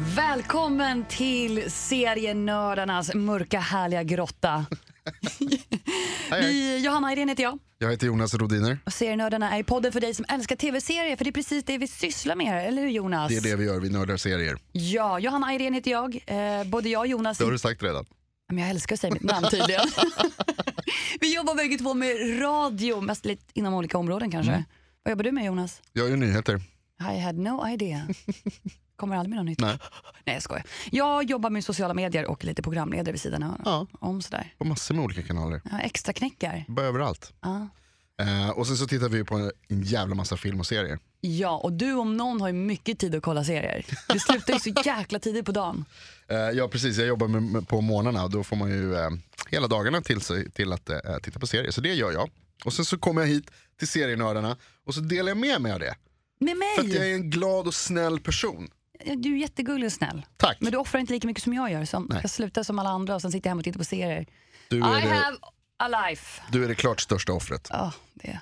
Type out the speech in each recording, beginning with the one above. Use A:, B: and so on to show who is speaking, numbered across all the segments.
A: Välkommen till serienördarnas mörka härliga grotta.
B: Hej, hej.
A: Vi, Johanna Irene heter jag.
B: Jag heter Jonas Rodiner.
A: Och serienördarna är podden för dig som älskar tv-serier. För det är precis det vi sysslar med här, eller hur Jonas?
B: Det är det vi gör, vi nördar serier.
A: Ja, Johanna Irene heter jag. Eh, både jag och Jonas...
B: Det har du sagt redan.
A: Men jag älskar att säga mitt namn tydligen. vi jobbar bägge två med radio, mest lite inom olika områden kanske.
B: Mm.
A: Vad jobbar du med Jonas?
B: Jag gör nyheter.
A: I had no idea. Kommer aldrig med något nytt.
B: Nej.
A: Nej, jag skojar. Jag jobbar med sociala medier och lite programledare vid sidan av.
B: Ja,
A: om sådär.
B: på massor med olika kanaler.
A: Ja, extra knäckar.
B: Bara överallt.
A: Ja.
B: Eh, och sen så tittar vi på en jävla massa film och serier.
A: ja, och du om någon har ju mycket tid att kolla serier. Det slutar ju så jäkla tidigt på dagen.
B: Eh, ja, precis. Jag jobbar med, med, på morgnarna och då får man ju eh, hela dagarna till, sig, till att eh, titta på serier. Så det gör jag. Och sen så kommer jag hit till serienördarna och så delar jag med mig av det.
A: Med
B: För att jag
A: mig!
B: är en glad och snäll person.
A: Du är jättegullig och snäll.
B: Tack.
A: Men du offrar inte lika mycket som jag gör. Som
B: Nej.
A: jag slutar som alla andra och sen sitter jag hemma och tittar på serier.
B: Du är,
A: I
B: det,
A: have a life.
B: du är det klart största offret.
A: Ja, det.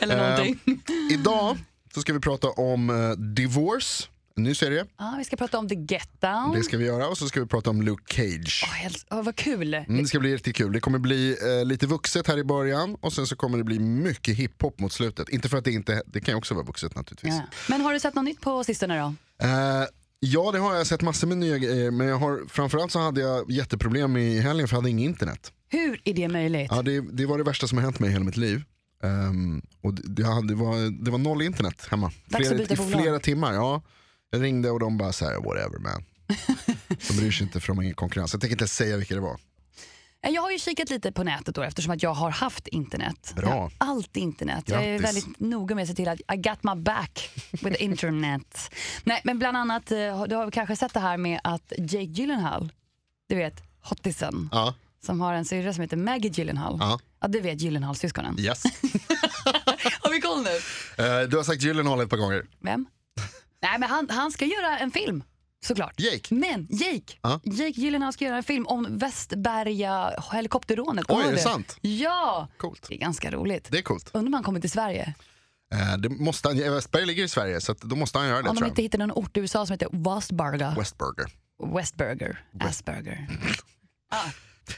A: Eller någonting.
B: Ehm. Idag så ska vi prata om eh, Divorce, en ny serie.
A: Ja, vi ska prata om The Get Down.
B: Det ska vi göra och så ska vi prata om Luke Cage.
A: Åh, häls- åh, vad kul.
B: Mm, det ska bli riktigt kul. Det kommer bli eh, lite vuxet här i början och sen så kommer det bli mycket hiphop mot slutet. Inte för att det inte, det kan ju också vara vuxet naturligtvis.
A: Ja. Men har du sett något nytt på sistone då?
B: Eh, ja det har jag sett massor med nya grejer men jag har, framförallt så hade jag jätteproblem i helgen för jag hade inget internet.
A: Hur är det möjligt?
B: Ja, det, det var det värsta som har hänt mig i hela mitt liv. Ehm, och det, jag hade- det, var, det var noll internet hemma.
A: Dags att byta
B: I
A: bolag.
B: flera timmar. Ja. Jag ringde och de bara så här, whatever man. De bryr sig inte för de har ingen konkurrens. Jag tänker inte säga vilka det var.
A: Eh, Jag har ju kikat lite på nätet då eftersom att jag har haft internet.
B: Bra.
A: Jag har allt internet. Jag är
B: Grattis.
A: väldigt noga med att se till att I got my back with the internet. Nej, men bland annat, eh, har- du har kanske sett det här med att Jake Gyllenhaal, du vet hottisen,
B: Ja,
A: som har en syrra som heter Maggie Gyllenhaal.
B: Ja.
A: Ja, du vet Gyllenhaal-syskonen.
B: yes.
A: Har vi koll nu?
B: Eh, du har sagt Gyllenhaal ett par gånger.
A: Vem? Nej, men han, han ska göra en film såklart.
B: Jake?
A: Men Jake,
B: Ja.
A: Jake Gyllenhaal ska göra en film om Västberga helikopterrånet. Kommer
B: Oj,
A: du
B: är det
A: ihåg
B: sant?
A: Ja,
B: Coolt.
A: det är ganska roligt.
B: Det är coolt.
A: Undrar om han kommer till Sverige.
B: Eh, det måste han, Westberg ligger i Sverige så att då måste han göra det
A: Om de
B: tror
A: inte
B: jag.
A: hittar någon ort i USA som heter Westburger.
B: Westburger.
A: Westburger. Asperger.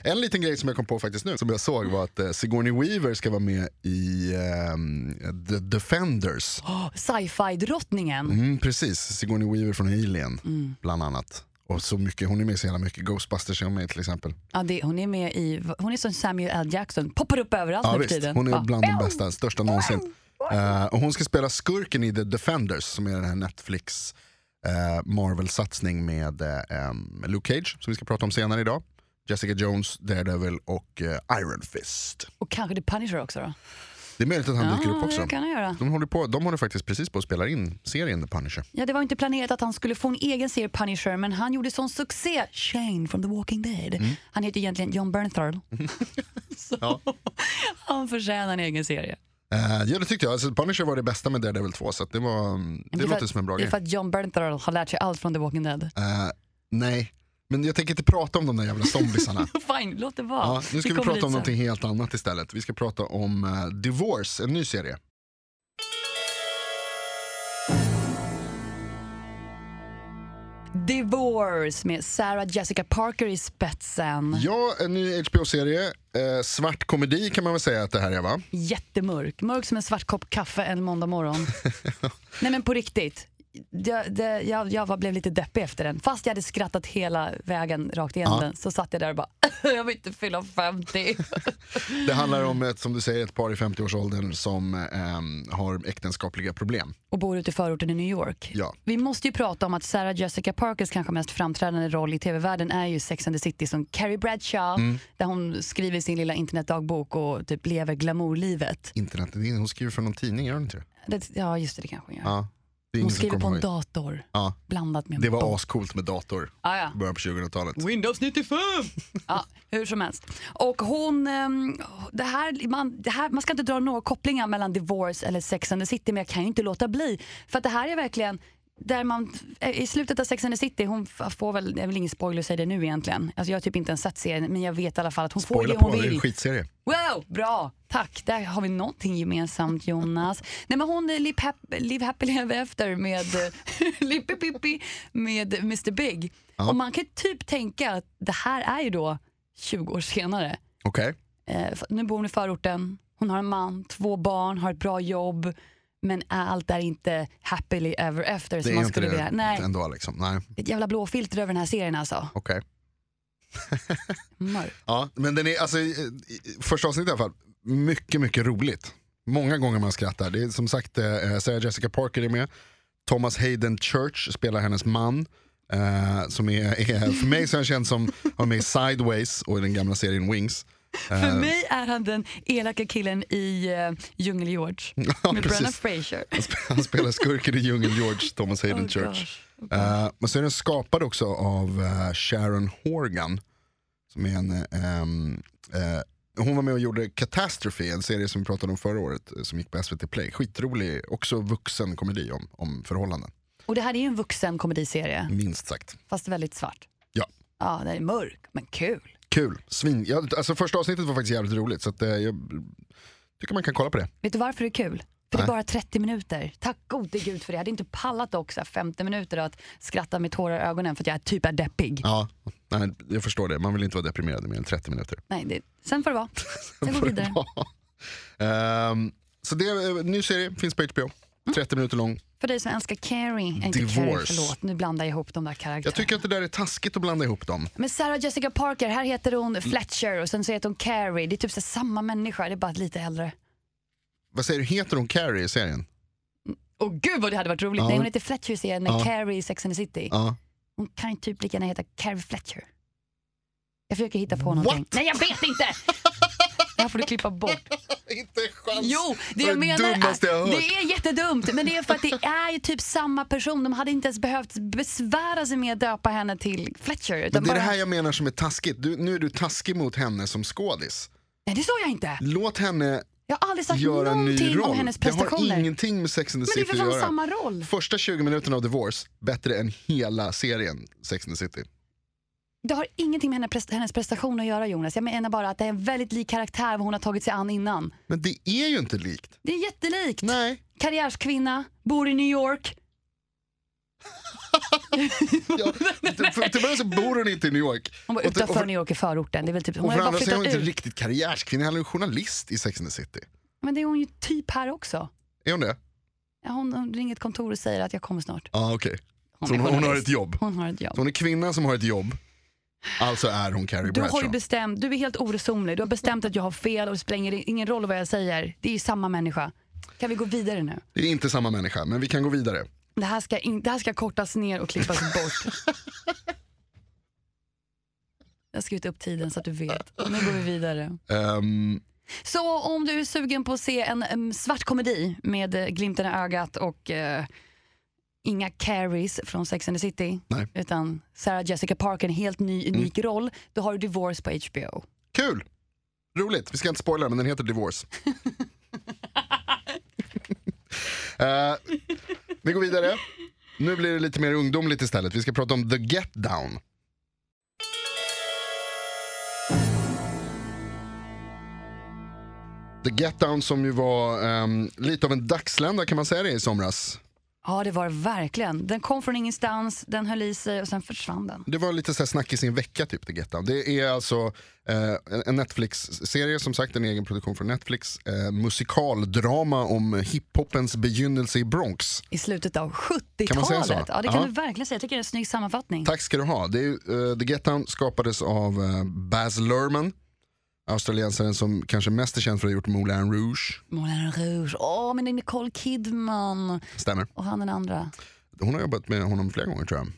B: En liten grej som jag kom på faktiskt nu som jag såg var att eh, Sigourney Weaver ska vara med i ehm, The Defenders.
A: Sci-fi-drottningen.
B: Mm, precis, Sigourney Weaver från Alien bland annat. Och så mycket, hon är med i så jävla mycket, Ghostbusters är hon med i, till exempel.
A: Ja, det, hon är med i... Hon är som Samuel L. Jackson. Poppar upp överallt
B: Ja,
A: nu för
B: visst,
A: tiden.
B: hon är
A: Ja.
B: bland de bästa, största någonsin. Eh, och hon ska spela skurken i The Defenders som är den här Netflix eh, Marvel-satsning med eh, em, Luke Cage som vi ska prata om senare idag. Jessica Jones, Daredevil och eh, Iron Fist.
A: Och kanske The Punisher också då.
B: Det är möjligt att han dyker
A: Ja,
B: upp också.
A: det kan han göra.
B: De håller, på, de håller faktiskt precis på att spela in serien The Punisher.
A: Ja, det var ju inte planerat att han skulle få en egen serie Punisher, men han gjorde sån succé, Shane from The Walking Dead. Han heter ju egentligen John Bernthal. Så
B: Mm. Ja.
A: han förtjänar en egen serie.
B: Eh, ja det tyckte jag, alltså, Punisher var det bästa med Daredevil 2 så att det, var, mm, det
A: är för
B: låter
A: att-
B: som en bra
A: Det är
B: grej.
A: för att John Bernthal har lärt sig allt från The Walking Dead.
B: Eh, nej, men jag tänker inte prata om de där jävla zombisarna.
A: Fine, låt det vara.
B: ja, nu ska vi
A: kommer
B: prata
A: dit
B: om
A: sen.
B: någonting helt annat istället. Vi ska prata om eh, Divorce, en ny serie.
A: Divorce med Sarah Jessica Parker i spetsen.
B: Ja, en ny HBO-serie. Eh, svart komedi kan man väl säga att det här är va?
A: Jättemörk. Mörk som en svart kopp kaffe en måndag morgon. Nej men på riktigt. Jag, det, jag, jag var- blev lite deppig efter den. Fast jag hade skrattat hela vägen rakt igenom
B: Ja.
A: den så satt jag där och bara jag vill inte fylla 50.
B: Det handlar om ett, som du säger, ett par i 50-årsåldern som eh, har äktenskapliga problem.
A: och bor ute i förorten i New York.
B: Ja.
A: Vi måste ju prata om att Sarah Jessica Parkers kanske mest framträdande roll i tv-världen är ju Sex and the City som Carrie Bradshaw
B: Mm.
A: där hon skriver sin lilla internetdagbok och typ lever glamourlivet.
B: Internet, det är- hon skriver för någon tidning, gör hon inte det?
A: Det, ja just det, det kanske hon gör.
B: Ja. Det är
A: Hon
B: ingen som
A: skriver på
B: kommer
A: en
B: ihåg.
A: dator
B: Ja,
A: blandat med en
B: det var
A: bok.
B: ascoolt med dator
A: Ah, ja.
B: i början på 2000-talet.
A: Windows 95! ja, hur som helst. Och hon, ehm, det här, man, det här, man ska inte dra några kopplingar mellan Divorce eller Sex and the City men jag kan ju inte låta bli. För att det här är verkligen där man, eh, I slutet av Sex and the City, hon f- får väl, det är väl ingen spoiler att säga det nu egentligen. Alltså jag har typ inte ens sett serien men jag vet i alla fall att hon får
B: Spoila
A: det
B: på,
A: hon
B: det är
A: vill.
B: en skitserie.
A: Wow, bra! Tack, där har vi någonting gemensamt Jonas. Nej men hon eh, är Live Happy, live happy Live After med eh, Lippi Pippi med Mr Big.
B: Ja.
A: Och man kan ju typ tänka att det här är ju då 20 år senare.
B: Okej,
A: Eh, f- nu bor hon i förorten, hon har en man, två barn, har ett bra jobb. Men är allt är inte happily ever after
B: det
A: som
B: är ju
A: man
B: inte
A: skulle
B: det
A: vilja. Nej,
B: ändå liksom. Nej,
A: det är ett jävla blåfilter över den här serien alltså.
B: okej.
A: Mörk.
B: Ja, men den är, alltså, i- i- första avsnittet i alla fall, mycket, mycket roligt. Många gånger man skrattar. Det är som sagt, eh, Sarah Jessica Parker är med. Thomas Hayden Church spelar hennes man. Eh, som är, är, för mig så är han känd som, han var med i Sideways och i den gamla serien Wings. Eh.
A: För mig är han den elaka killen i uh, Djungel George
B: Ja,
A: med Brennan
B: precis.
A: Fraser.
B: Han sp- Han spelar skurken i Djungel George, Thomas Hayden
A: Oh,
B: Church.
A: gosh.
B: Eh, men så är den skapad också av eh, Sharon Horgan. Som är en, eh, ehm, eh, hon var med och gjorde Catastrophe, en serie som vi pratade om förra året eh, som gick på SVT Play. Skitrolig, också vuxen komedi om, om förhållanden.
A: Och det här är ju en vuxen komediserie,
B: Minst sagt.
A: fast väldigt svart.
B: Ja.
A: Ja, den är mörk, men kul.
B: Kul, svin. Ja, alltså första avsnittet var faktiskt jävligt roligt så att, eh, jag tycker man kan kolla på det.
A: Vet du varför det är kul? För det
B: Nej.
A: är bara 30 minuter. Tack gode gud för det. Jag hade inte pallat också 50 minuter att skratta med tårar i ögonen för att jag typ är deppig.
B: Ja, nej, jag förstår det. Man vill inte vara deprimerad i mer än 30 minuter.
A: Nej, det, sen får det vara. Sen går
B: får
A: vi
B: det
A: vidare.
B: vara. Ehm, så det är en ny serie, finns på HBO. 30 minuter lång.
A: För dig som älskar Carrie, inte Carrie,
B: Divorce.
A: förlåt. Nu blandar jag ihop de där karaktärerna.
B: Jag tycker att det där är taskigt att blanda ihop dem.
A: Men Sarah Jessica Parker, här heter
B: Mm.
A: hon Fletcher och sen så heter hon Carrie. Det är typ så här samma människa, det är bara lite äldre.
B: Vad säger du, heter hon Carrie i serien?
A: Åh gud vad det hade varit roligt.
B: Ja.
A: Nej, hon heter Fletcher i serien men
B: Ja.
A: Carrie i Sex and the City.
B: Ja.
A: Hon kan ju typ lika gärna heta Carrie Fletcher. Jag försöker hitta på någonting.
B: What?
A: Nej jag vet inte! Det här får du klippa bort.
B: Inte en chans.
A: Jo, det
B: Det
A: jag
B: var det
A: menar
B: dummaste jag har
A: är,
B: hört.
A: det är jättedumt. Men det är för att det är ju typ samma person. De hade inte ens behövt besvära sig med att döpa henne till Fletcher. Utan
B: Men det är
A: bara,
B: det här jag menar som är taskigt. Du, nu är du taskig mot henne som skådis.
A: Nej det sa jag inte.
B: Låt henne
A: Jag har aldrig sagt
B: göra en ny
A: någonting om
B: roll.
A: hennes
B: det har
A: prestationer.
B: ingenting med Sex and the
A: Men det är
B: City
A: för
B: att
A: fan
B: göra.
A: samma roll.
B: Första 20 minuterna av Divorce, bättre än hela serien Sex and the City.
A: Det har ingenting med henne prest- hennes prestation att göra Jonas. Jag menar bara att det är en väldigt lik karaktär vad hon har tagit sig an innan.
B: Men det är ju inte likt.
A: Det är jättelikt.
B: Nej,
A: Karriärskvinna, bor i New York.
B: jag, för, till början så bor hon inte i New York.
A: Hon var
B: Och till- och
A: utanför
B: för-
A: New York i förorten. Det är väl typ, hon
B: Och
A: har
B: för
A: ju bara
B: andra så är hon
A: flyttat
B: inte
A: ut.
B: riktigt karriärskvinna, hon är ju journalist i Sex and the City.
A: Men det är hon ju typ här också.
B: Är hon det?
A: Ja, Hon, hon ringer ett kontor och säger att jag kommer snart.
B: Ja, ah, okej.
A: Hon,
B: Så
A: är
B: hon, hon har
A: journalist.
B: ett jobb.
A: Hon har ett jobb.
B: Så hon är kvinna som har ett jobb, alltså är hon Carrie
A: Du, har
B: Bradshaw.
A: ju bestämt, du är helt oresonlig. Du har bestämt att jag har fel och det spelar ingen- ingen roll vad jag säger. Det är ju samma människa. Kan vi gå vidare nu?
B: Det är inte samma människa, men vi kan gå vidare.
A: Det här ska, in, det här ska kortas ner och klippas bort. Jag har skrivit upp tiden så att du vet. Nu går vi vidare.
B: Ehm,
A: Så om du är sugen på att se en, em, svart komedi med eh, glimten i ögat och eh, inga carries från Sex and the City
B: Nej. Mm.
A: utan Sarah Jessica Parker, en helt ny unik roll, då har du Divorce på HBO.
B: kul! Roligt, vi ska inte spoila men den heter Divorce. Eh, vi går vidare. Nu blir det lite mer ungdomligt istället. Vi ska prata om The Get Down. The Get Down som ju var ehm, lite av en dagslända kan man säga det i somras.
A: Ja, det var det verkligen. Den kom från ingenstans, den höll i sig och sen försvann den.
B: Det var lite så här snack i sin vecka, typ, The Get Down. Det är alltså eh, en- en Netflix-serie, som sagt, en egen produktion från Netflix. Eh, musikaldrama om hiphopens begynnelse i Bronx.
A: I slutet av
B: Kan man säga så?
A: 70-talet. Ja, det kan
B: Ja.
A: du verkligen säga. Jag tycker det är en snygg sammanfattning.
B: Tack ska du ha. Det är, ju, eh, The Get Down skapades av eh, Baz Luhrmann, australiensaren som kanske mest är känd för att ha gjort Moulin Rouge.
A: Moulin Rouge. Åh, men det är Nicole Kidman
B: Stämmer.
A: och han den andra.
B: Hon har jobbat med honom flera gånger, tror jag.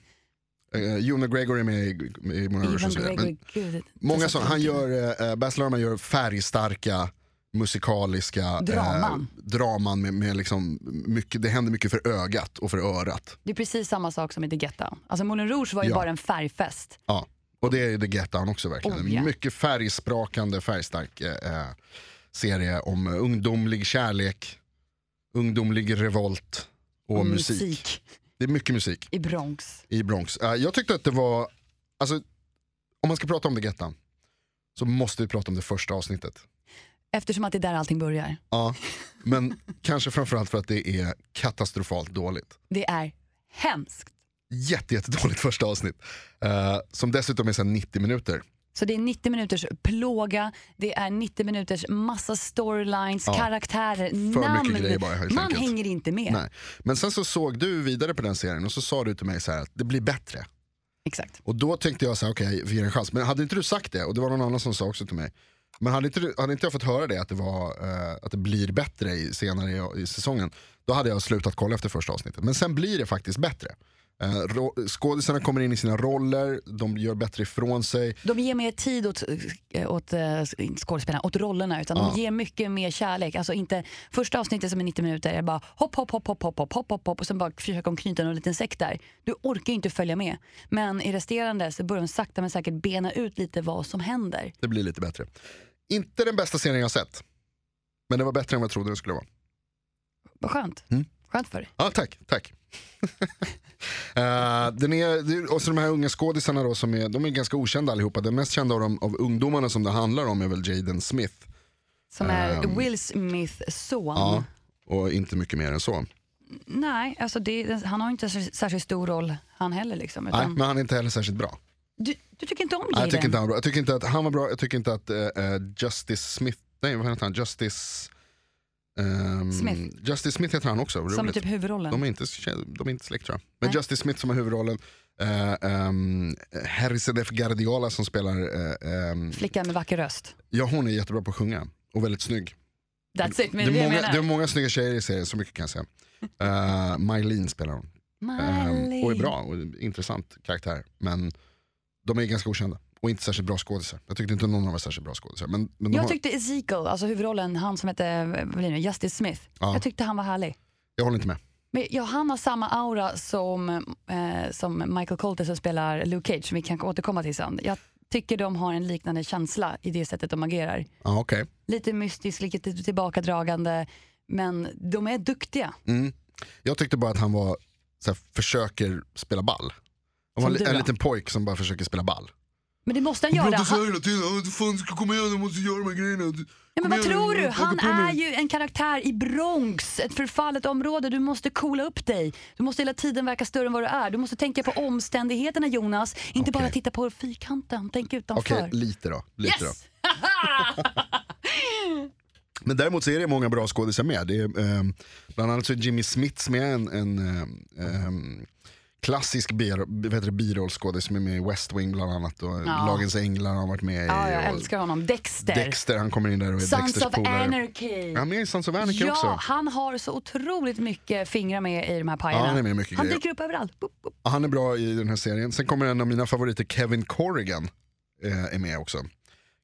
B: Eh, Jonah Gregor är med i, i Moulin Rouge
A: Ivan
B: och så vidare.
A: Gregory.
B: Men
A: Gud, det är
B: många
A: så
B: sådana. Han
A: tråkigt.
B: gör, eh, Baz Luhrmann gör färgstarka musikaliska
A: Draman.
B: Eh, draman med, med liksom mycket, det händer mycket för ögat och för örat.
A: Det är precis samma sak som i The Get Down. Alltså Moulin Rouge var ju
B: Ja.
A: bara en färgfest.
B: Ja. Och det är ju The Get Down också verkligen.
A: Oh, ja.
B: Mycket färgsprakande, färgstark eh, eh, serie om eh, ungdomlig kärlek, ungdomlig revolt och musik. Det är mycket musik
A: i Bronx.
B: i Bronx. Eh, jag tyckte att det var, alltså, om man ska prata om The Get Down, så måste vi prata om det första avsnittet.
A: Eftersom att det är där allting börjar.
B: Ja, men kanske framförallt för att det är katastrofalt dåligt.
A: Det är hemskt.
B: Jätte, jättedåligt första avsnitt. Eh, som dessutom är sen 90 minuter.
A: Så det är 90 minuters plåga, det är 90 minuters massa storylines,
B: Ja.
A: karaktärer,
B: mycket
A: namn.
B: grejer bara, helt
A: Man
B: enkelt.
A: hänger inte med.
B: Nej. Men sen så såg du vidare på den serien och så sa du till mig så här att det blir bättre.
A: Exakt.
B: Och då tänkte jag så här, okej vi ger en chans. Men hade inte du sagt det, och det var någon annan som sa också till mig. Men hade inte, du- hade inte jag fått höra det att det, var, eh, att det blir bättre i, senare i, i säsongen. Då hade jag slutat kolla efter första avsnittet. Men sen blir det faktiskt bättre. Eh, ro- skådisarna kommer in i sina roller, de gör bättre ifrån sig.
A: De ger mer tid åt, eh, åt eh, inte skådespelarna, åt rollerna, utan de ger mycket mer kärlek. Alltså inte första avsnittet som är 90 minuter, är bara hopp, hopp, hopp, hopp, hopp, hopp, hopp, hopp, hopp och sen bara försöka knyta någon liten säck där. Du orkar ju inte följa med. Men i resterande så börjar de sakta men säkert bena ut lite vad som händer.
B: Det blir lite bättre. Inte den bästa serien jag har sett. Men det var bättre än vad jag trodde det skulle vara.
A: Vad skönt.
B: Mm.
A: Skönt för dig.
B: Ja, tack. tack. Eh, den är, det är- och så de här unga skådisarna då, som är, de är ganska okända allihopa. Den mest kända av, dem, av ungdomarna som det handlar om är väl Jaden Smith.
A: Som är
B: Ehm.
A: Will Smiths son.
B: Ja, Mm. och inte mycket mer än så.
A: Nej, alltså det, han har inte så- särskilt stor roll han heller. Liksom,
B: Nej,
A: utan,
B: men han är inte heller särskilt bra.
A: du, du tycker inte om
B: Nej,
A: Jaden?
B: jag, tycker inte han var bra. jag tycker inte att han var bra, jag tycker inte att eh, eh, Justice Smith, nej vad heter han? Justice... ehm,
A: Smith.
B: Justice Smith heter han också,
A: Som är
B: roligt.
A: typ huvudrollen.
B: De är inte, de är inte släkt tror jag. Men
A: Nej.
B: Justice Smith som har huvudrollen, eh, ehm, Harrison F. Guardiola som spelar, eh, ehm,
A: Flickan med vacker röst.
B: ja hon är jättebra på att sjunga och väldigt snygg.
A: That's it, men
B: det,
A: det,
B: är
A: jag
B: många,
A: menar.
B: det är många snygga tjejer i serien, så mycket kan jag säga. Uh, Mylene spelar hon. Ehm,
A: Miley.
B: och är bra, och är intressant karaktär. Men de är ganska okända och inte särskilt bra skådisar. Jag tyckte inte någon av dem var särskilt bra skådisar. Men, men de
A: Jag
B: har,
A: tyckte Ezekiel, alltså huvudrollen, han som hette vad blir det nu, Justice Smith,
B: Ja.
A: jag tyckte han var härlig.
B: jag håller inte med.
A: Men ja, han har samma aura som, eh, som Michael Colter som spelar Luke Cage, som vi kan återkomma till sen. Jag tycker de har en liknande känsla i det sättet de agerar.
B: Ja, okej.
A: Lite mystisk, lite tillbakadragande, men de är duktiga.
B: Mm. Jag tyckte bara att han var, så här, försöker spela ball. Han var
A: Som
B: li-
A: du
B: en
A: då?
B: liten pojk som bara försöker spela ball.
A: Men det måste han göra. Han,
B: hela tiden, "Åh, fan ska kom igen, jag måste göra de här grejerna. Du-
A: ja, men
B: kom
A: vad
B: igen,
A: tror du?
B: jag
A: Han
B: åker på mig."
A: är ju en karaktär i Bronx, ett förfallet område. Du måste coola upp dig. Du måste hela tiden verka större än vad du är. Du måste tänka på omständigheterna Jonas, inte bara
B: Okej.
A: titta på fyrkanten. Tänk
B: Okej,
A: utanför.
B: lite då. Lite då.
A: yes!
B: Men däremot så är det många bra skådisar med. Det är, ehm, bland annat så är Jimmy Smits med, en, en ehm, ehm, klassisk bi- vad heter det, birollskådis som är med i West Wing bland annat. Och
A: Ja.
B: Lagens Änglar har han varit med i.
A: Ja, jag
B: och
A: älskar honom. Dexter.
B: Dexter, han kommer in där och är
A: Sons
B: Dexters
A: of
B: Eh, polare.
A: Anarchy.
B: Ja, Han är med i Sons of Anarchy
A: ja,
B: också.
A: han har så otroligt mycket fingrar med i de här
B: Ja,
A: pajerna.
B: han är med i mycket
A: han
B: grejer.
A: dyker upp överallt. Boop, boop.
B: Ja, Han är bra i den här serien. Sen kommer en av mina favoriter, Kevin Corrigan, eh, är med också.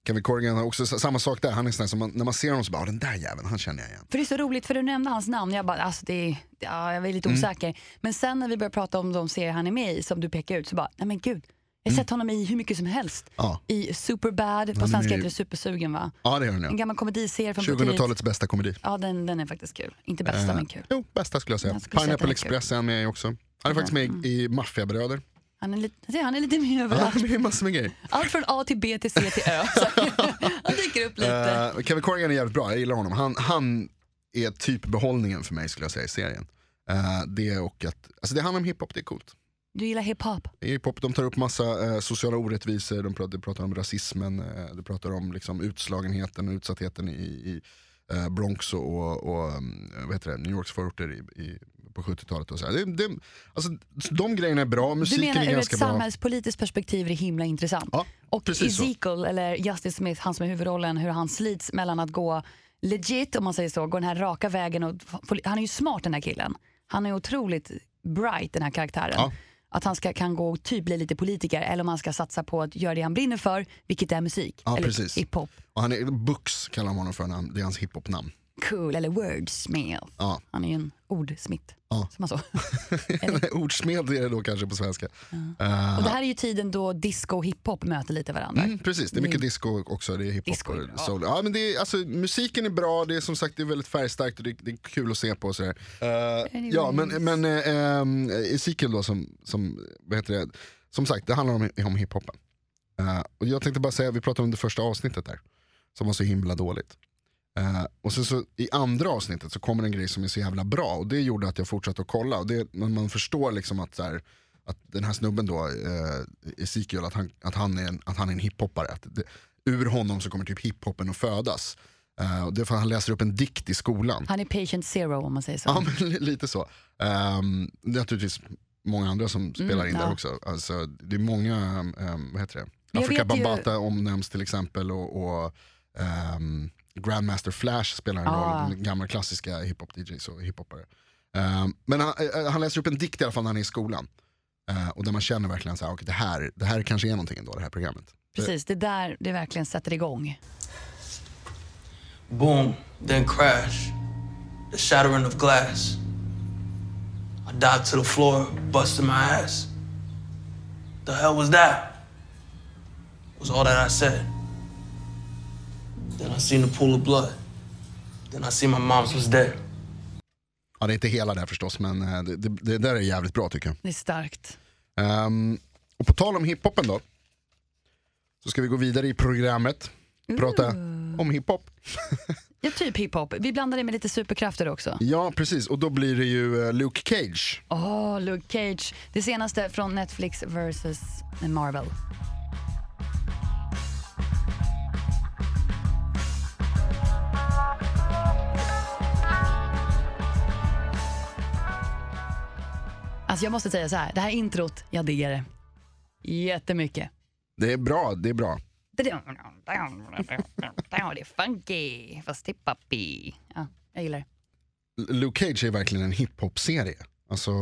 B: Kevin Corrigan har också s- samma sak där. Han är sån här som man, när man ser honom så bara, "Ah, den där jäveln, han känner jag igen.
A: För det är så roligt, för du nämnde hans namn. Jag bara, alltså det är, ja, jag är
B: Mm.
A: lite osäker. Men sen när vi började prata om de serier han är med i, som du pekar ut, så bara, nej men gud. Jag har sett honom i hur mycket som helst.
B: Ja,
A: I Superbad, på
B: Mm. är
A: svenska
B: med i-
A: heter det Supersugen va?
B: ja det gör han ja.
A: En gammal komediserie från Butteriet.
B: 2000-talets bästa komedi.
A: Ja, den, den är faktiskt kul. Inte bästa,
B: Eh,
A: men kul.
B: Jo, bästa skulle jag säga.
A: Jag skulle säga att den
B: Pineapple
A: är kul. Mm.
B: Express är han med i också. Han är faktiskt med i- i Maffiabröder.
A: Han är lite, se, han är lite med
B: Ja,
A: överallt.
B: det är massor med grejer.
A: Allt från A till B till C till Ö. Så han dyker upp lite.
B: Eh, Kevin Corrigan är jävligt bra, jag gillar honom. Han, han är typ behållningen för mig skulle jag säga i serien. Eh, det, och att, alltså det handlar om hiphop, det är coolt.
A: Du gillar hiphop.
B: I hiphop de tar upp massa eh, sociala orättvisor, de pratar, de pratar om rasismen, eh, de pratar om liksom, utslagenheten och utsattheten i, i eh, Bronx och, och, och mm, vad heter det, New Yorks förorter i, i, på 70-talet. Och så här. Det, det, alltså, de grejerna är bra,
A: Du
B: musiken
A: menar
B: är
A: ur ett
B: ganska bra.
A: samhällspolitiskt perspektiv är det himla intressant.
B: Ja,
A: Och
B: precis så.
A: Ezekiel, eller Justice Smith, han som är huvudrollen, hur han slits mellan att gå legit, om man säger så, gå den här raka vägen. Och, få- han är ju smart den här killen. Han är otroligt bright den här karaktären.
B: Ja.
A: Att han ska, kan gå och typ bli lite politiker eller om han ska satsa på att göra det han brinner för, vilket är musik.
B: Ja,
A: eller
B: precis.
A: hiphop.
B: Och han är, Bux kallar man honom för, när han- det är hans hiphop-namn.
A: cool, eller wordsmith.
B: Ja.
A: Han är ju en ordsmitt.
B: Ja.
A: Som man så.
B: Ordsmed är det då kanske på svenska. Eh,
A: Och det här är ju tiden då disco och hiphop möter lite varandra.
B: Mm, precis, det är mycket disco också. Det är hiphop
A: Disco är bra.
B: och soul. Ja, men det är, alltså, musiken är bra, det är som sagt det är väldigt färgstarkt och det, det är kul att se på. Och sådär. Eh, ja, men, men eh, ehm, Ezekiel då som, som, vad heter det? som sagt det handlar om, om hiphopen. Eh, och jag tänkte bara säga, vi pratade om det första avsnittet där, som var så himla dåligt. Eh, och sen så i andra avsnittet så kommer en grej som är så jävla bra och det gjorde att jag fortsatte att kolla. Och det, när man förstår liksom att, så här, att den här snubben då, eh, Ezekiel, att han, att han är en, att han är en hiphoppare. Att det, ur honom så kommer typ hiphopen att födas. Eh, och det är för att han läser upp en dikt i skolan.
A: Han är patient zero om man säger så.
B: Ja, men li- lite så. Ehm, det är naturligtvis många andra som spelar in där
A: Mm, ja.
B: också. Alltså, det är många, ehm, vad heter det?
A: Jag
B: Afrika
A: vet ju-
B: Bambata omnämns till exempel och, och ehm, Grandmaster Flash spelar en
A: Ah.
B: roll, den gamla klassiska hiphop-DJs och hiphoppare. Ehm, men han, eh, han läser upp en dikt i alla fall när han är i skolan. Eh, och där man känner verkligen så här, okay, det, här, det här kanske är någonting ändå, det här programmet.
A: Precis, det där det verkligen sätter igång.
C: Boom, then crash. The shattering of glass. I dived to the floor, busting my ass. The hell was that? Was all that I said. Then I seen the pool of blood. Then I seen my mom's was dead.
B: Ja, det är inte hela där förstås, men eh, det, det, det där är jävligt bra tycker jag.
A: Det är starkt.
B: Ehm, och på tal om hiphopen då. Så ska vi gå vidare i programmet. Prata om hiphop.
A: Ja, typ hiphop. Vi blandar det med lite superkrafter också.
B: Ja precis, och då blir det ju eh, Luke Cage.
A: Åh, Luke Cage. Det senaste från Netflix versus Marvel. Alltså jag måste säga så här, det här introt, jag diggar det. Jättemycket.
B: Det är bra, det är bra.
A: Det är funky, fast hippapi. Ja, jag gillar det.
B: L- Luke Cage är verkligen en hiphop-serie. Alltså,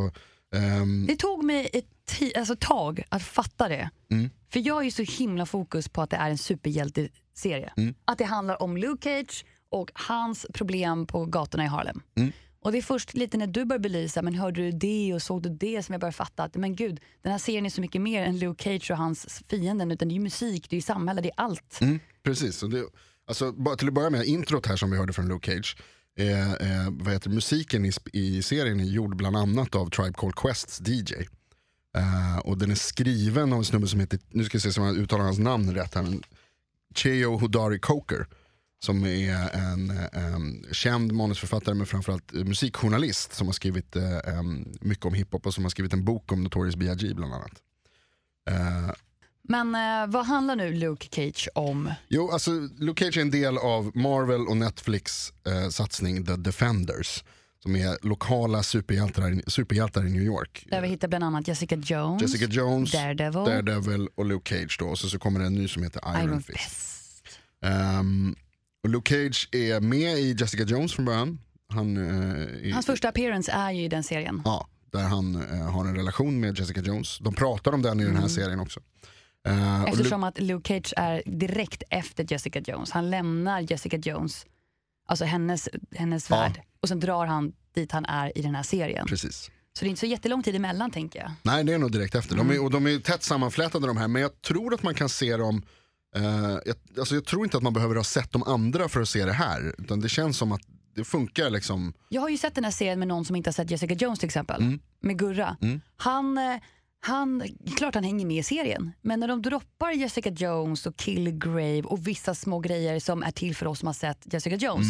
B: ehm,
A: Det tog mig ett ti- alltså, tag att fatta det. För jag är ju så himla fokus på att det är en superhjälteserie. Att det handlar om Luke Cage och hans problem på gatorna i Harlem. Och det är först lite när du började belysa, men hörde du det och såg du det som jag började fatta att men gud, den här serien är så mycket mer än Luke Cage och hans fienden. Utan det är ju musik, det är ju samhälle, det är allt.
B: mm, precis. Och det, alltså, bara till att börja med, introt här som vi hörde från Luke Cage. Eh, eh, vad heter, det? musiken i, sp- i serien är gjord bland annat av Tribe Called Quests DJ. Eh, och den är skriven av en snubbe som heter, nu ska jag se så om jag uttalar hans namn rätt här. men Cheo Hodari Coker. Som är en eh, em, känd manusförfattare men framförallt eh, musikjournalist som har skrivit eh, em, mycket om hiphop och som har skrivit en bok om Notorious B.I.G. bland annat. Eh,
A: Men eh, vad handlar nu Luke Cage om?
B: Jo, alltså Luke Cage är en del av Marvel och Netflix eh, satsning The Defenders. Som är lokala superhjältar, superhjältar i New York.
A: Där vi hittar bland annat Jessica Jones,
B: Jessica Jones,
A: Daredevil,
B: Daredevil och Luke Cage då. Och så, så kommer det en ny som heter Iron,
A: Iron
B: Fist.
A: Fist.
B: Ehm, och Luke Cage är med i Jessica Jones från början. Han, eh, är,
A: Hans första appearance är ju i den serien.
B: Ja, där han eh, har en relation med Jessica Jones. De pratar om den i den här serien också. Eh, och Luke-
A: Mm. Eftersom att Luke Cage är direkt efter Jessica Jones. Han lämnar Jessica Jones, alltså hennes, hennes
B: Ja.
A: värld. Och sen drar han dit han är i den här serien.
B: Precis.
A: Så det är inte så jättelång tid emellan tänker jag.
B: Nej, det är nog direkt efter.
A: Mm.
B: De är, och de är tätt sammanflätade de här, men jag tror att man kan se dem eh, jag, alltså jag tror inte att man behöver ha sett de andra för att se det här. Utan det känns som att det funkar liksom.
A: Jag har ju sett den här serien med någon som inte har sett Jessica Jones till exempel. Med Gurra. Han, eh, han, klart han hänger med i serien. Men när de droppar Jessica Jones och Killgrave och vissa små grejer som är till för oss som har sett Jessica Jones.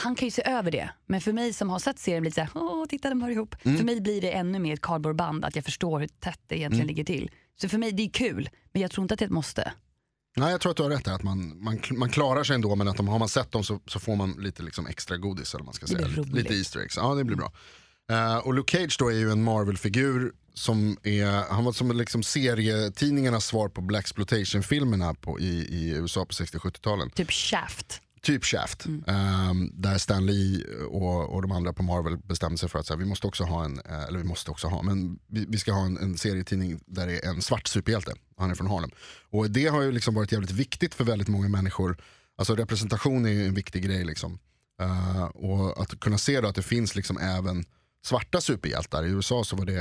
A: Han kan ju se över det. Men för mig som har sett serien blir det såhär, åh titta de hör ihop. För mig blir det ännu mer ett kardborreband att jag förstår hur tätt det egentligen ligger till. Så för mig det är kul, men jag tror inte att det är ett måste.
B: Nej, jag tror att du har rätt där. Att man, man, man klarar sig ändå, men att de, har man sett dem så, så får man lite liksom extra godis. Eller vad man ska
A: Det
B: säga.
A: blir
B: Lite,
A: roligt.
B: lite Easter eggs. Ja, det blir bra. Eh, och Luke Cage då är ju en Marvel-figur. Som är, han var som liksom serietidningarnas svar på Black filmerna på, i, i USA på 60-70-talen.
A: Typ Shaft.
B: typ Shaft. Ehm, där Stan Lee och, och de andra på Marvel bestämde sig för att så här, vi måste också ha en, eh, eller vi måste också ha, men vi, vi ska ha en, en serietidning där det är en svart superhjälte. Han är från Harlem. Och det har ju liksom varit jävligt viktigt för väldigt många människor. Alltså representation är ju en viktig grej liksom. Eh, och att kunna se då att det finns liksom även svarta superhjältar. I USA så var det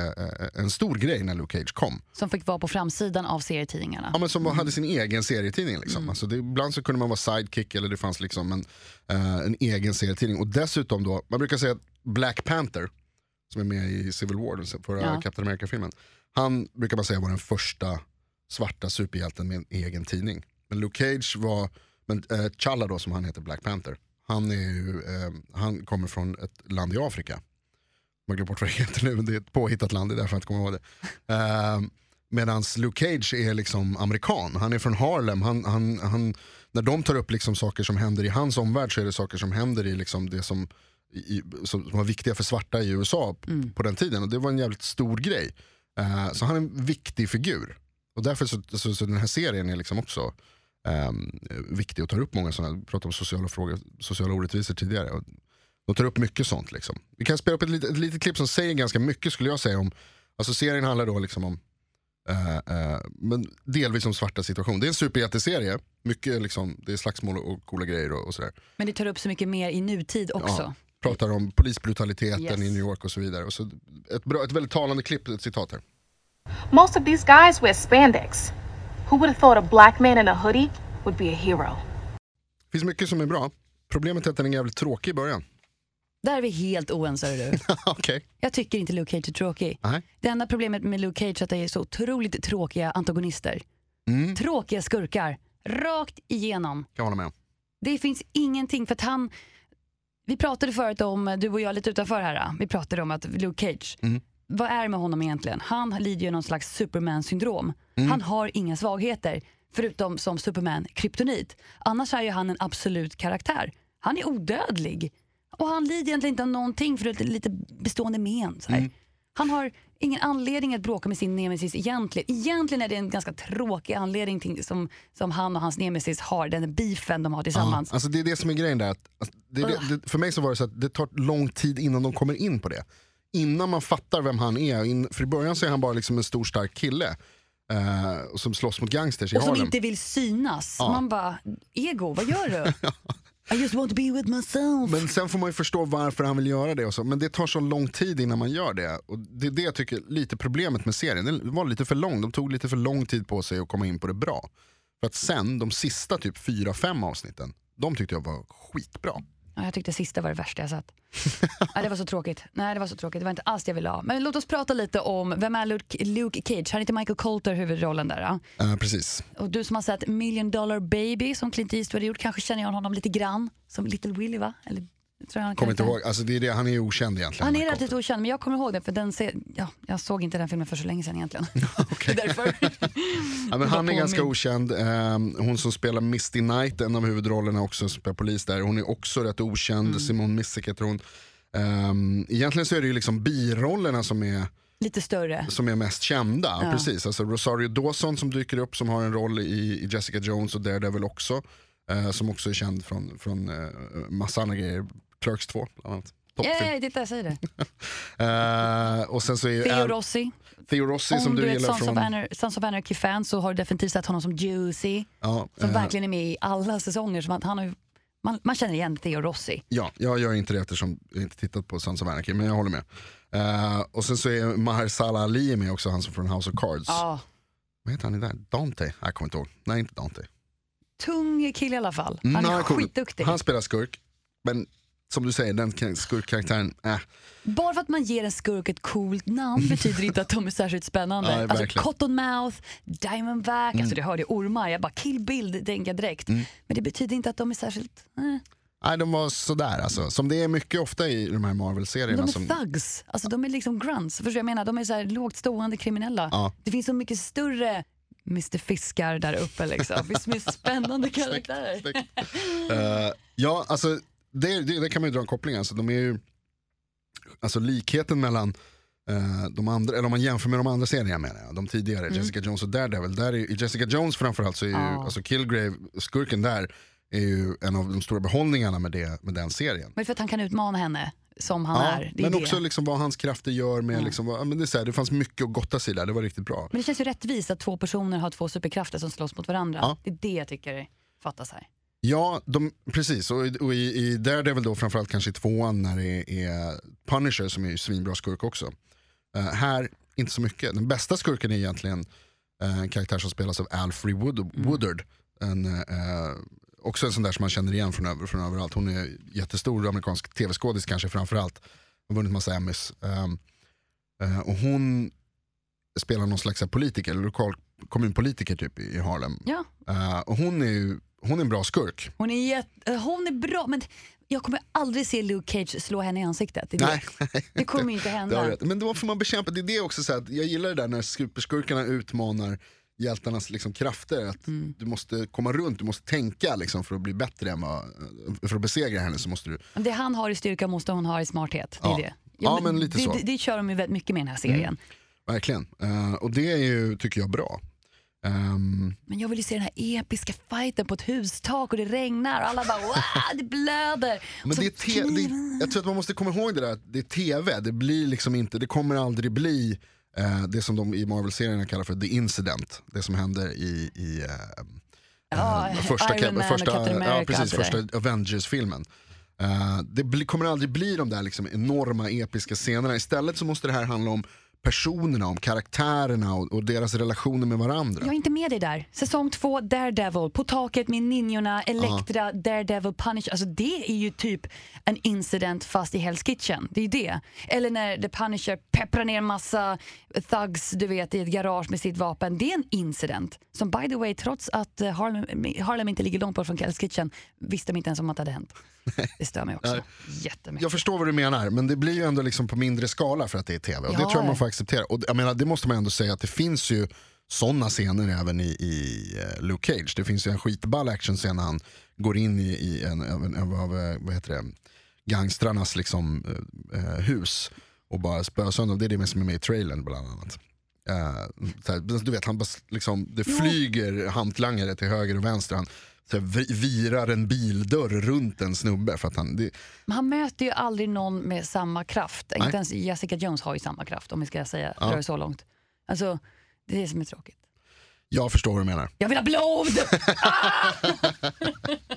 B: eh, en stor grej när Luke Cage kom.
A: Som fick vara på framsidan av serietidningarna.
B: Ja, men som hade sin egen serietidning. Liksom. Alltså det, ibland så kunde man vara sidekick eller det fanns liksom en, eh, en egen serietidning. Och dessutom då, man brukar säga att Black Panther, som är med i Civil War, den förra
A: Ja.
B: Captain America-filmen. Han brukar man säga var den första svarta superhjälten med en egen tidning. Men Luke Cage var, men eh, Challa då som han heter, Black Panther. Han, är ju, eh, han kommer från ett land i Afrika. Man glömmer bort vad det heter nu, men det är ett påhittat land, det är därför jag inte kommer ihåg det. Ehm, Medan Luke Cage är liksom amerikan, han är från Harlem. Han, han, han, när de tar upp liksom saker som händer i hans omvärld så är det saker som händer i liksom det som, i, som var viktiga för svarta i USA p- på den tiden. Och det var en jävligt stor grej. Eh, så han är en viktig figur. Och därför så, så, så den här serien är liksom också ehm, viktig och tar upp många sådana, vi pratade om sociala frågor, sociala orättvisor tidigare. Och de tar upp mycket sånt. Liksom. Vi kan spela upp ett litet, ett litet klipp som säger ganska mycket skulle jag säga om, alltså serien handlar då liksom om eh, eh, men delvis om svarta situation. Det är en superjätteserie, mycket liksom, det är slagsmål och coola grejer och, och sådär.
A: Men det tar upp så mycket mer i nutid också.
B: Pratar om polisbrutaliteten
A: Yes.
B: i New York och så vidare. Och så ett, bra, ett väldigt talande klipp, ett citat här.
D: Most of these guys wear spandex. Who would have thought a black man in a hoodie would be a hero?
B: Det finns mycket som är bra. Problemet är att den är jävligt tråkig i början.
A: Där är vi helt oense hörru du.
B: Okej.
A: Jag tycker inte Luke Cage är tråkig.
B: Nej.
A: Det enda problemet med Luke Cage är att det är så otroligt tråkiga antagonister. Tråkiga skurkar. Rakt igenom.
B: Kan hålla med om.
A: Det finns ingenting för att han... Vi pratade förut om, du och jag lite utanför här, vi pratade om att Luke Cage, vad är det med honom egentligen? Han lider ju någon slags Superman-syndrom. Han har inga svagheter, förutom som Superman, kryptonit. Annars är ju han en absolut karaktär. Han är odödlig. Och han lider egentligen inte av någonting förutom lite bestående men. Så här. Han har ingen anledning att bråka med sin nemesis egentligen. Egentligen är det en ganska tråkig anledning till, som, som han och hans nemesis har, den beefen de har tillsammans.
B: Ja, alltså det är det som är grejen där. Att, alltså det, är det, det, för mig så var det så att det tar lång tid innan de kommer in på det. Innan man fattar vem han är. In, för i början så är han bara liksom en stor stark kille. eh, och som slåss mot gangsters i
A: Och som
B: Harlem.
A: inte vill synas. Man bara, ego, vad gör du? I just want to be with myself.
B: Men sen får man ju förstå varför han vill göra det. Och så. Men det tar så lång tid innan man gör det. Och det är det jag tycker är lite problemet med serien. Den var lite för lång. De tog lite för lång tid på sig att komma in på det bra. För att sen, de sista typ 4-5 avsnitten, de tyckte jag var skitbra.
A: Ja, jag tyckte sista var det värsta jag sett. Nej, det var så tråkigt. Nej, det var så tråkigt. Det var inte alls det jag ville ha. Men låt oss prata lite om, vem är Luke, Luke Cage? Har inte Michael Coulter huvudrollen där? ja?
B: Eh, precis.
A: Och du som har sett Million Dollar Baby som Clint Eastwood har gjort, kanske känner jag honom lite grann. Som Little Willy va? Eller, jag tror han
B: Kommer inte
A: kallar-
B: ihåg. Alltså det är det, han är ju okänd egentligen.
A: Han är
B: Michael.
A: relativt okänd, men jag kommer ihåg den för den se- ja, jag såg inte den filmen för så länge sedan egentligen. Det är därför.
B: Ja, men han är
A: Påminn.
B: ganska okänd. Ehm, hon som spelar Misty Knight, en av huvudrollerna också, som spelar polis där. Hon är också rätt okänd.
A: Mm.
B: Simone Missick heter hon. Ehm, egentligen så är det ju liksom birollerna som är,
A: Lite större.
B: som är mest kända. Precis. Alltså Rosario Dawson som dyker upp som har en roll i, i Jessica Jones och Daredevil också. eh, som också är känd från, från eh, massa andra grejer. Clerks 2 bland annat. Toppfilm.
A: Yay, titta jag säger det.
B: Eh, och sen så är
A: Theo
B: Theo,
A: Rossi.
B: Theo Rossi som
A: Om
B: du,
A: du är ett
B: gillar
A: Sons,
B: från...
A: of Anar- Sons of Anarchy-fan så har du definitivt sett honom som Juicy.
B: Ja,
A: Som
B: eh,
A: verkligen är med i alla säsonger. Som att han har, ju- man, man känner igen Theo Rossi.
B: Ja, jag gör inte det eftersom jag inte tittat på Sons of Anarchy, men jag håller med. Eh, och sen så är Mahershala Ali med också, han som från House of Cards.
A: Ja,
B: Vad heter han i där? Dante? Jag kommer inte ihåg. Nej, inte Dante.
A: tung kille i alla fall. Han
B: Nej,
A: är
B: cool.
A: skitduktig.
B: Mm, Han spelar skurk, men som du säger, den k- skurkkaraktären, eh.
A: Bara för att man ger en skurk ett coolt namn betyder inte att de är särskilt spännande.
B: Nej,
A: alltså
B: verkligen. Mm.
A: Cottonmouth, Diamondback, alltså det hörde jag ormar. Jag bara kill bild, tänker jag direkt. Men det betyder inte att de är särskilt... Eh.
B: Nej, de var sådär alltså. Som det är mycket ofta i de här Marvel-serierna.
A: De är
B: som,
A: thugs, alltså de är liksom grunts. Förstår du? jag menar? De är så här lågt stående kriminella.
B: Ja.
A: Det finns så mycket större Mr Fiskar där uppe liksom. Visst med spännande karaktärer.
B: Eh, ja, alltså det, det, det kan man ju dra en koppling. Alltså, de är ju, alltså likheten mellan eh, de andra, eller om man jämför med de andra serierna menar jag, de tidigare, Jessica Jones och Daredevil. Där är, ju- I Jessica Jones framförallt så är ju,
A: Mm. Ja.
B: alltså Killgrave, skurken där, är ju en av de stora behållningarna med, det, med den serien.
A: Men för att han kan utmana henne som han är. Det är
B: men
A: det.
B: också liksom vad hans krafter gör med, liksom, vad, ja, men det, är så här, det fanns mycket att gotta sig i där, det var riktigt bra.
A: Men det känns ju rättvist att två personer har två superkrafter som slåss mot varandra.
B: Ja.
A: Det är det jag tycker fattas här.
B: Ja, de, precis. Och, i- och i, i Daredevil då framförallt kanske i tvåan när det är Punisher som är ju svinbra skurk också. Eh, här, inte så mycket. Den bästa skurken är egentligen eh, en karaktär som spelas av Alfre Wood, Woodard. En, eh, också en sån där som man känner igen från, över, från överallt. Hon är jättestor amerikansk tv-skådis kanske framförallt. Har vunnit massa Emmys. Ehm, eh, och hon spelar någon slags politiker, lokal kommunpolitiker typ i i Harlem.
A: Ja,
B: Eh, och hon är ju hon är en bra skurk.
A: hon är, jätte, eh, hon är bra, men jag kommer aldrig se Luke Cage slå henne i ansiktet. Det, är
B: Nej, nej,
A: det kommer ju inte
B: det har du
A: hända.
B: rätt. Men då får man bekämpa, det är det också så här, att jag gillar det där när superskurkarna utmanar hjältarnas liksom krafter. Att Du måste komma runt, du måste tänka liksom, för att bli bättre än vad, för att besegra henne så måste du.
A: Men Det han har i styrka måste hon ha i smarthet. Det är
B: Ja.
A: det.
B: Ja, men lite
A: det,
B: så. Mm.
A: Det, det kör de ju väldigt mycket med i den här serien.
B: Verkligen. Eh, och det är ju, tycker jag, bra. Ehm,
A: Men jag vill ju se den här episka fighten på ett hustak och det regnar och alla bara wow, det blöder.
B: Men
A: Och så
B: det är te- det är,
A: kniven.
B: jag tror att man måste komma ihåg det där, att det är tv, det blir liksom inte, det kommer aldrig bli eh, det som de i Marvel-serierna kallar för the incident, det som händer i, i eh,
A: Ja,
B: eh, första,
A: Iron Man och Captain America
B: ja,
A: och allt
B: precis,
A: det där.
B: första Avengers-filmen. Eh, det bli, kommer aldrig bli de där liksom enorma episka scenerna, istället så måste det här handla om personerna, om karaktärerna och, och deras relationer med varandra.
A: Jag är inte med dig där. Säsong två, Daredevil, På taket med ninjorna, Elektra, Daredevil, Punisher. Alltså det är ju typ en incident fast i Hell's Kitchen. Det är ju det. Eller när The Punisher pepprar ner massa thugs du vet, i ett garage med sitt vapen. Det är en incident. Som by the way, trots att eh, Harlem, Harlem inte ligger långt bort från Hell's Kitchen visste de inte ens om att det hade hänt. Det stör mig också jättemycket.
B: Jag förstår vad du menar, men det blir ju ändå liksom på mindre skala för att det är tv. Och Det
A: Ja,
B: tror jag
A: ja.
B: man får acceptera. Och jag menar, det måste man ändå säga att det finns ju sådana scener även i, i eh, Luke Cage. Det finns ju en skitball actionscen när han går in i, i en, av en, av- av, eh, vad heter det, gangstrarnas liksom, eh, eh, hus och bara spöar sönder. Det är det som är med i trailern bland annat. Eh, så här, du vet, han bara s- liksom, det flyger hantlangare till höger och vänster. Han så här, vi- virar en bildörr runt en snubbe. För att han, det,
A: Men han möter ju aldrig någon med samma kraft.
B: Nej.
A: Inte ens Jessica Jones har ju samma kraft om vi ska säga dra det så långt. Alltså, det är det som är tråkigt.
B: jag förstår vad du menar.
A: Jag vill ha blod!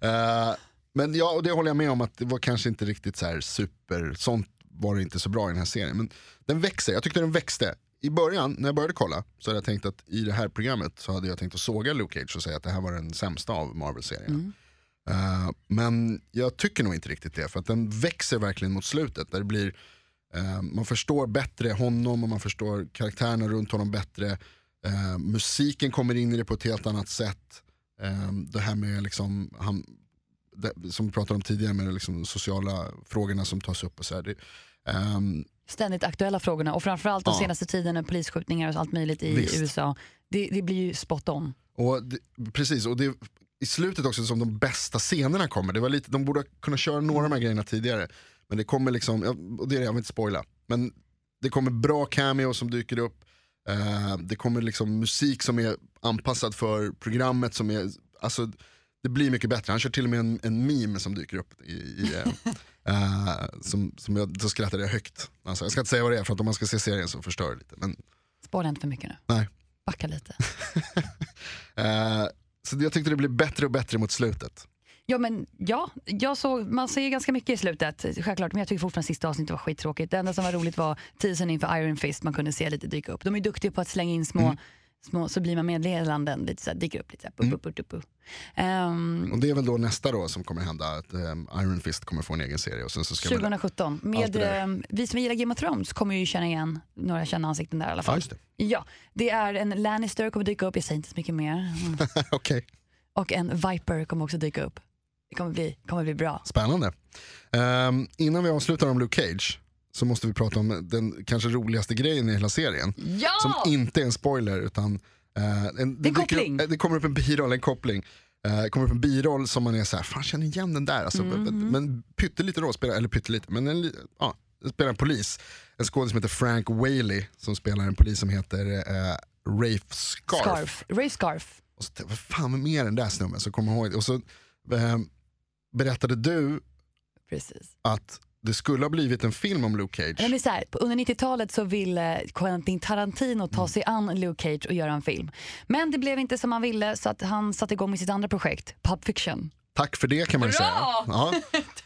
B: Eh, men ja, och det håller jag med om att det var kanske inte riktigt så här super, sånt var det inte så bra i den här serien. Men den växer, jag tyckte den växte. I början, när jag började kolla, så hade jag tänkt att i det här programmet så hade jag tänkt att såga Luke Cage och säga att det här var den sämsta av Marvel-serierna. Eh, men jag tycker nog inte riktigt det, för att den växer verkligen mot slutet. Där det blir, eh, man förstår bättre honom och man förstår karaktärerna runt honom bättre. Eh, musiken kommer in i det på ett helt annat sätt. Eh, det här med liksom, han, det, som vi pratade om tidigare med liksom sociala frågorna som tas upp. och så här, det, ehm,
A: Ständigt aktuella frågorna och framförallt de
B: Ja.
A: senaste tiden när polisskjutningar och allt möjligt i
B: Visst.
A: USA. Det, det blir ju spot on.
B: och det, precis, och det, i slutet också som de bästa scenerna kommer. Det var lite, de borde kunna köra några av de här grejerna tidigare. Men det kommer liksom, jag, och det är det, jag vill inte spoila. Men det kommer bra cameo som dyker upp. Eh, det kommer liksom musik som är anpassad för programmet som är, alltså det blir mycket bättre. Han kör till och med en, en meme som dyker upp. I, i, eh, eh, som, som jag, då skrattade jag högt. Alltså, jag ska inte säga vad det är för att om man ska se serien så förstör det lite. Men
A: Spara inte för mycket nu.
B: nej.
A: Backa lite.
B: Eh, så jag tyckte det blev bättre och bättre mot slutet.
A: Ja, men ja, jag såg, man ser ganska mycket i slutet, självklart. Men jag tycker fortfarande sista avsnittet var skittråkigt. Det enda som var roligt var teasern inför Iron Fist, man kunde se lite dyka upp. De är duktiga på att slänga in små,
B: Mm.
A: små så blir man meddelanden, lite så här, dyker upp lite så här, bup, bup, bup, bup. Ehm,
B: Och det är väl då nästa då som kommer hända, att eh, Iron Fist kommer få en egen serie. Och sen så ska väl-
A: 2017.
B: Allt
A: Med,
B: det där.
A: eh, vi som gillar Game of Thrones kommer ju känna igen några kända ansikten där i alla
B: Ja,
A: fall.
B: just det.
A: Ja, det är en Lannister kommer dyka upp, jag säger inte så mycket mer. Mm.
B: Okej,
A: Och en Viper kommer också dyka upp. Det kommer bli, kommer bli bra.
B: spännande. Ehm, innan vi avslutar om Luke Cage så måste vi prata om den kanske roligaste grejen i hela serien.
A: Ja!
B: Som inte är en spoiler utan eh, en,
A: Det är
B: dyker
A: koppling.
B: Upp, eh, det kommer upp en biroll, en koppling. Eh, det kommer upp en biroll som man är så här, fan känner igen den där. Alltså,
A: Mm.
B: Men pyttelite då, spelar, eller pyttelite, men en, li- ja, spelar en polis. En skådespelare som heter Frank Whaley som spelar en polis som heter eh, Rafe Scarf.
A: Scarf. Rafe Scarf.
B: Och så, tänkte jag, vad fan vem är den där snubben? Så kommer jag ihåg det. Och så eh, berättade ehm, du
A: Precis.
B: att det skulle ha blivit en film om Luke Cage.
A: Nej, men så här, på- under 90-talet så ville Quentin Tarantino ta sig an Luke Cage och göra en film. Men det blev inte som han ville så att han satte igång med sitt andra projekt, Pulp Fiction.
B: Tack för det kan man ju säga.
A: Bra!
B: Ja.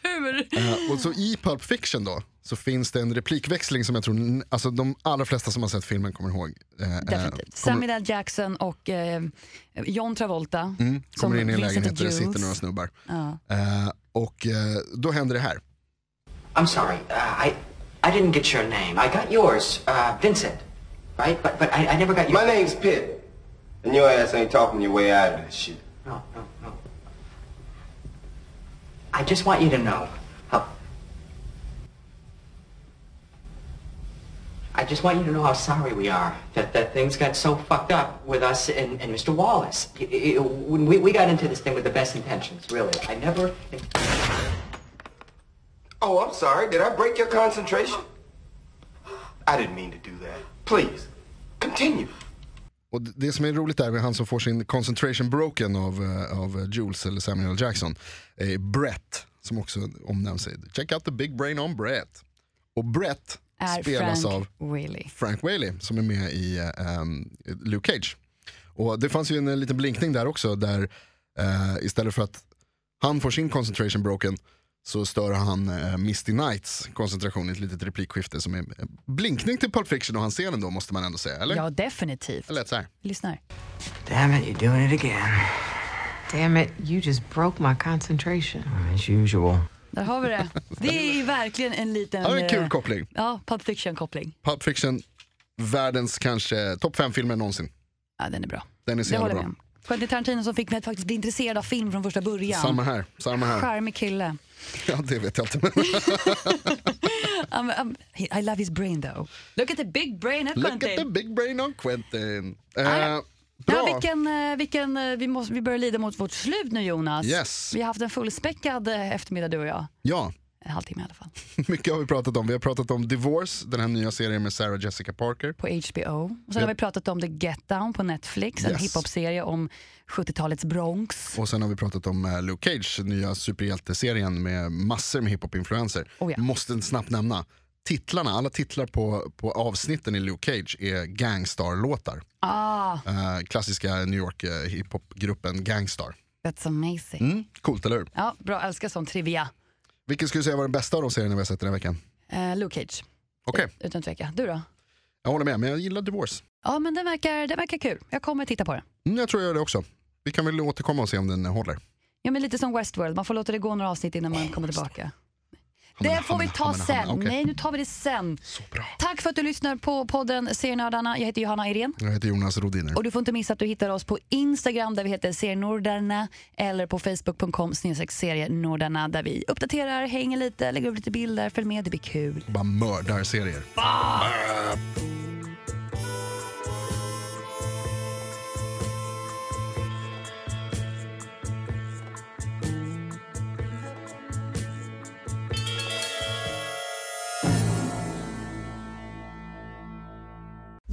A: Tur!
B: Eh, Och så i Pulp Fiction då, så finns det en replikväxling som jag tror n- alltså de allra flesta som har sett filmen kommer ihåg. Eh, eh,
A: Definitivt.
B: kommer,
A: Samuel L. Jackson och eh, John Travolta.
B: Mm. kommer in i en
A: Vincent
B: lägenhet där det
A: Jules.
B: sitter några snubbar.
A: Ja.
B: Eh, och eh, då händer det här.
E: I'm sorry, uh, I I didn't get your name. I got yours, uh, Vincent, right? But but I, I never got your.
F: My name's Pitt, and your ass ain't talking your way out of this shit.
E: No, no, no. I just want you to know how. I just want you to know how sorry we are that, that things got so fucked up with us and, and Mr. Wallace. Y- y- y- when we, we got into this thing with the best intentions, really. I never...
F: Oh, I'm sorry. Did I break your concentration? I didn't mean to do that. Please, continue.
B: Och d- det som är roligt där med han som får sin concentration broken av, eh, av Jules eller Samuel L. Jackson är Brett som också omnämns i Check out the big brain on Brett. Och Brett
A: Är
B: spelas av
A: Frank Willy.
B: Frank Whaley som är med i eh, ehm, Luke Cage. Och det fanns ju en, eh, liten blinkning där också där eh, istället för att han får sin concentration broken så stör han eh, Misty Knights koncentration i ett litet replikskifte som är eh, blinkning till Pulp Fiction och hans scenen då måste man ändå säga, eller?
A: Ja, definitivt.
B: Det lät så här.
A: Lyssna här.
E: Damn it, you're doing it again.
G: Damn it, you just broke my concentration.
E: As usual.
A: Där har vi det. Det är verkligen en liten...
B: Ja, det är en
A: eh,
B: kul koppling.
A: Ja, Pulp Fiction-koppling.
B: Pulp Fiction, världens kanske topp fem filmer någonsin.
A: Ja, den är bra.
B: Den är så
A: Det
B: jävla
A: håller jag med
B: bra.
A: om. Quentin Tarantino som fick mig att faktiskt bli intresserad av film från första början.
B: Samma här, samma här.
A: Charmig kille.
B: Ja, det vet jag inte. Men
A: Um, um, he- I love his brain though. Look at the big brain at
B: Look at the
A: Quentin.
B: big brain on Quentin. Eh,
A: ja. Ja,
B: bra.
A: vilken, eh, vilken, eh, vi, måste, vi börjar lida mot vårt slut nu Jonas.
B: Yes.
A: Vi har haft en fullspäckad eh, eftermiddag du och jag.
B: Ja,
A: En halvtimme i alla fall.
B: mycket har vi pratat om. Vi har pratat om Divorce, den här nya serien med Sarah Jessica Parker.
A: På HBO. Och sen har vi pratat om The Get Down på Netflix. En
B: Yes.
A: hiphop-serie om 70-talets Bronx.
B: Och sen har vi pratat om eh, Luke Cage, nya superhjälteserien med massor med hiphop-influenser.
A: Oh ja.
B: Måste snabbt nämna, titlarna, alla titlar på, på avsnitten i Luke Cage är Gangstar-låtar.
A: Ah,
B: Eh, klassiska New York eh, hiphopgruppen Gangstar.
A: that's
B: Mm.
A: amazing.
B: Coolt, eller hur?
A: Ja, bra, älskar sån trivia.
B: Vilken skulle du säga var den bästa av de serierna vi har sett den här veckan?
A: Eh, Luke Cage,
B: Okej,
A: utan tvekan. Du då?
B: jag håller med, men jag gillar Divorce.
A: Ja, men den verkar, den verkar kul. Jag kommer titta på den.
B: Mm, jag tror jag gör det också. Vi kan väl återkomma och se om den håller.
A: Ja, men lite som Westworld, man får låta det gå några avsnitt innan man kommer tillbaka. Det
B: men,
A: får vi
B: han,
A: ta
B: han, han,
A: sen.
B: okej.
A: Nej, nu tar vi det sen.
B: Så bra.
A: Tack för att du lyssnar på podden Serienördarna. Jag heter Johanna Irén.
B: Jag heter Jonas Rodiner.
A: Och du får inte missa att du hittar oss på Instagram där vi heter Serienordarna eller på facebook.com snedstreck serienordarna där vi uppdaterar, hänger lite, lägger upp lite bilder, följ med, det blir kul.
B: Bara mördar serier.